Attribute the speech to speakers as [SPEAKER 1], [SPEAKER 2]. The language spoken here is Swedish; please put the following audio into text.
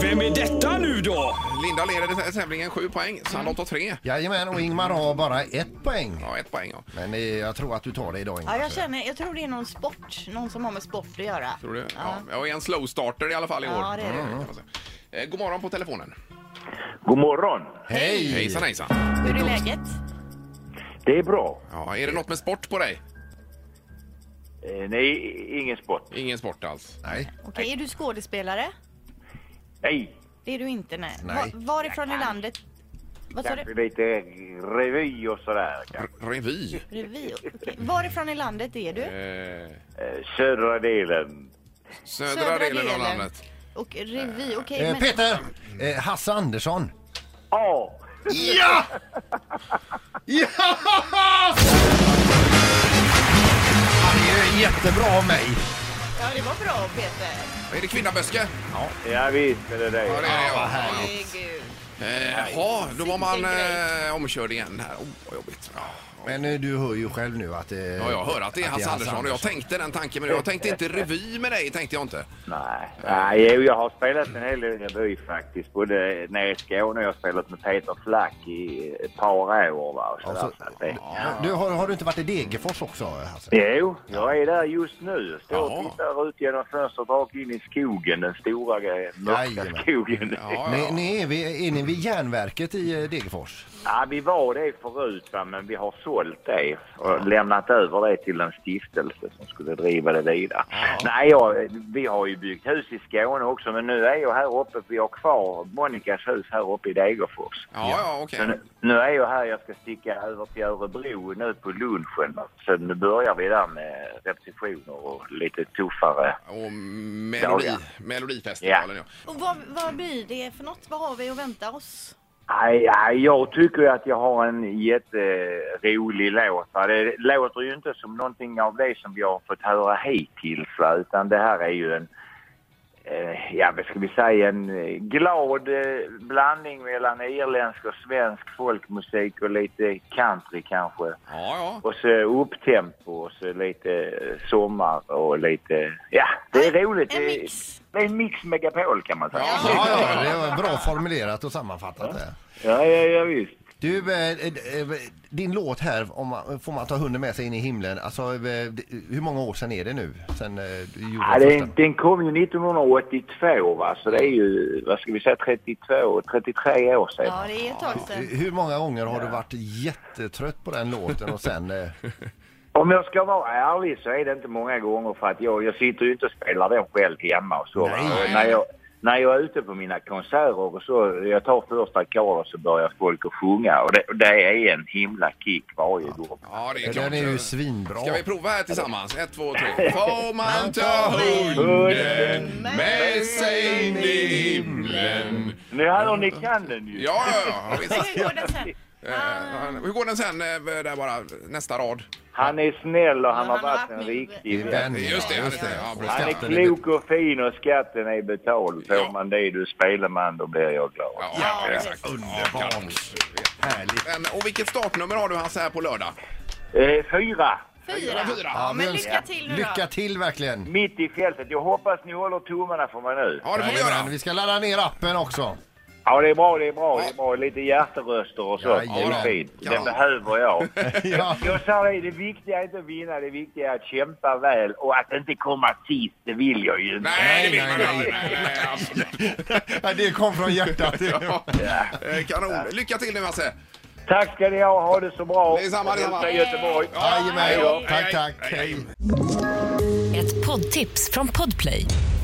[SPEAKER 1] Vem är detta nu då?
[SPEAKER 2] Linda leder tävlingen 7 poäng, Sandholt
[SPEAKER 3] Mm.
[SPEAKER 2] har 3.
[SPEAKER 4] Jajamän, och Ingmar har bara ett poäng.
[SPEAKER 2] Ja, ett poäng. Ja.
[SPEAKER 4] Men eh, jag tror att du tar det idag Ingmar.
[SPEAKER 3] Ja, jag
[SPEAKER 4] så-
[SPEAKER 3] känner, jag tror det är någon sport, någon som har med sport att göra.
[SPEAKER 2] Tror du? Ja. Jag är en slow starter i alla fall i år.
[SPEAKER 3] Ja, det är det.
[SPEAKER 2] Mm, kan man säga. Eh, God morgon på telefonen.
[SPEAKER 5] God morgon.
[SPEAKER 4] Hej!
[SPEAKER 2] Hejsan hejsan.
[SPEAKER 3] Hur är läget?
[SPEAKER 5] Det är bra.
[SPEAKER 2] Ja, är det något med sport på dig?
[SPEAKER 5] Eh, nej, ingen sport.
[SPEAKER 2] Ingen sport alls.
[SPEAKER 4] Nej,
[SPEAKER 3] Okej, är du skådespelare?
[SPEAKER 5] Nej,
[SPEAKER 3] Det är du inte, nej.
[SPEAKER 4] Nej.
[SPEAKER 3] Va, varifrån i landet? Vad sa
[SPEAKER 5] kanske
[SPEAKER 3] du?
[SPEAKER 5] lite eh, revy och sådär. kanske.
[SPEAKER 2] R- revy?
[SPEAKER 3] Revy? Okej. Varifrån i landet är du?
[SPEAKER 2] Eh,
[SPEAKER 5] Eh, södra delen.
[SPEAKER 2] södra,
[SPEAKER 3] Södra
[SPEAKER 2] delen av
[SPEAKER 3] delen.
[SPEAKER 2] landet.
[SPEAKER 3] Och revy, okej.
[SPEAKER 4] eh,
[SPEAKER 3] men-
[SPEAKER 4] Peter! Eh, Hasse Andersson.
[SPEAKER 5] Ja!
[SPEAKER 4] Ja! Ja! Han är ju jättebra av mig.
[SPEAKER 3] Ja, det var bra Peter.
[SPEAKER 2] Är det kvinnaböske?
[SPEAKER 5] Ja, visst är det det.
[SPEAKER 2] Ja, det är det. Ja.
[SPEAKER 3] Herregud.
[SPEAKER 2] Eh, Jaha, då var man eh, omkörd igen här. Oh, vad jobbigt. Ja,
[SPEAKER 4] Men eh, du hör ju själv nu att... eh,
[SPEAKER 2] Ja, jag hör att det är Hasse Andersson och jag tänkte den tanken, men jag tänkte inte revy med dig, tänkte jag inte.
[SPEAKER 5] Nej, nej, jo, jag har spelat en hel del revy faktiskt. Både nere i Skåne och jag har spelat med Peter Flack i ett par år. Va? och sådär,
[SPEAKER 4] Alltså,
[SPEAKER 5] så att det...
[SPEAKER 4] Du, har, har du inte varit i Degerfors också Hasse?
[SPEAKER 5] Jo, jag är där just nu. Står
[SPEAKER 2] Jaha.
[SPEAKER 5] och tittar ut genom fönstret rakt in i skogen. Den stora eh, mörka
[SPEAKER 4] Jajamän.
[SPEAKER 5] skogen.
[SPEAKER 2] Ja,
[SPEAKER 4] Ni,
[SPEAKER 2] ja.
[SPEAKER 4] ni är, vid, är ni vid järnverket i eh, Degerfors?
[SPEAKER 5] Ja, vi var det förut, va? men vi har sålt det och lämnat över det till en stiftelse som skulle driva det vidare. Nej, ja, vi har ju byggt hus i Skåne också, men nu är jag här uppe. Vi har kvar Monikas hus här uppe i Degerfors.
[SPEAKER 2] Ja, ja, okej.
[SPEAKER 5] Så nu, nu är jag här. Jag ska sticka över till Örebro nu på lunchen. va. Så nu börjar vi där med repetitioner och lite tuffare.
[SPEAKER 2] Och melodi,
[SPEAKER 5] Ja,
[SPEAKER 2] Melodifestivalen, ja.
[SPEAKER 3] Och vad, vad blir det för något? Vad har vi att vänta oss?
[SPEAKER 5] Nej, nej, jag tycker att jag har en jätterolig låt. va. Det låter ju inte som någonting av det som vi har fått höra hittills. va, Utan det här är ju en, eh, ja vad ska vi säga, en eh, glad eh, blandning mellan irländsk och svensk folkmusik och lite country kanske.
[SPEAKER 2] Ja, ja.
[SPEAKER 5] Och så upptempo och så lite eh, sommar och lite, ja det är roligt.
[SPEAKER 3] En
[SPEAKER 5] Det är-
[SPEAKER 3] mix.
[SPEAKER 5] Det är en mix megapol kan man säga.
[SPEAKER 2] Ja.
[SPEAKER 4] Ja, ja, det var bra formulerat och sammanfattat det.
[SPEAKER 5] Ja, ja, ja visst.
[SPEAKER 4] Du, eh, eh, din låt här, om man, får man ta hunden med sig in i himlen, alltså, eh, d- hur många år sedan är det nu? Sen eh, du gjorde
[SPEAKER 5] Ja,
[SPEAKER 4] den
[SPEAKER 5] den,
[SPEAKER 4] första?
[SPEAKER 5] den kom ju 1982 va, så det är ju, vad ska vi säga, 32, 33 år sedan.
[SPEAKER 3] Ja, det är ett tag sedan.
[SPEAKER 4] Hur många gånger har du varit jättetrött på den låten och sen... eh,
[SPEAKER 5] Om jag ska vara ärlig så är det inte många gånger för att jag, jag sitter ju inte och spelar den själv hemma och så. va.
[SPEAKER 4] Nej.
[SPEAKER 5] Och När, jag, när jag är ute på mina konserter och så, jag tar första ackorden så börjar folk att sjunga och det, och det är en himla kick varje gång.
[SPEAKER 2] Ja, det är klart.
[SPEAKER 4] Den är ju svinbra.
[SPEAKER 2] Ska vi prova här tillsammans? Ett, två, tre. Får man ta hunden med sig in i himlen?
[SPEAKER 5] Nu hallå, ni kan den ju!
[SPEAKER 2] Ja, ja, ja. visst.
[SPEAKER 3] Hur går det sen?
[SPEAKER 2] Eh, Hur går den sen? eh, Där bara, nästa rad.
[SPEAKER 5] Han är snäll och han
[SPEAKER 3] Ja,
[SPEAKER 5] har varit en riktig vän.
[SPEAKER 4] Vän,
[SPEAKER 2] Just det,
[SPEAKER 4] ja,
[SPEAKER 2] just det. Ja, precis.
[SPEAKER 5] Han är
[SPEAKER 4] Skatten är
[SPEAKER 5] klok och fin och skatten är betald. Får
[SPEAKER 2] Ja.
[SPEAKER 5] man det du spelar man då blir jag glad.
[SPEAKER 2] Ja,
[SPEAKER 3] Ja,
[SPEAKER 2] exakt. Ja, kanon.
[SPEAKER 4] Härligt.
[SPEAKER 2] Men, och vilket startnummer har du Hasse här på lördag?
[SPEAKER 5] Eh, fyra,
[SPEAKER 3] Fyra.
[SPEAKER 2] Fyra.
[SPEAKER 4] Ja, vi
[SPEAKER 3] men lycka
[SPEAKER 4] önskar-
[SPEAKER 3] till nu då.
[SPEAKER 4] Lycka till verkligen.
[SPEAKER 5] mitt i fältet. Jag hoppas ni håller tummarna för mig nu.
[SPEAKER 2] Ja, det får vi
[SPEAKER 4] Jajamän,
[SPEAKER 2] göra.
[SPEAKER 4] vi ska ladda ner appen också.
[SPEAKER 5] Ja, det är bra, det är bra, det är bra. Lite hjärteröster och så.
[SPEAKER 4] Ja,
[SPEAKER 5] det
[SPEAKER 2] ja.
[SPEAKER 5] är fint.
[SPEAKER 2] Ja.
[SPEAKER 5] Det behöver jag.
[SPEAKER 4] Ja.
[SPEAKER 5] Jag sa det, det viktiga är inte att vinna, det viktiga är att kämpa väl och att inte komma sist, det vill jag ju inte.
[SPEAKER 2] Nej, det vill
[SPEAKER 4] Nej,
[SPEAKER 2] man
[SPEAKER 4] nej,
[SPEAKER 2] inte. Nej, alltså. nej, absolut.
[SPEAKER 4] Ja, Det kom från hjärtat.
[SPEAKER 2] Ja, eh, Kanon. Lycka till nu Hasse.
[SPEAKER 5] Tack ska ni ha, ha det så bra.
[SPEAKER 2] Detsamma, detsamma.
[SPEAKER 5] Jag Göteborg.
[SPEAKER 4] Jajamän.
[SPEAKER 2] då.
[SPEAKER 4] Tack, tack.
[SPEAKER 2] Hej.
[SPEAKER 6] Ett poddtips från Podplay.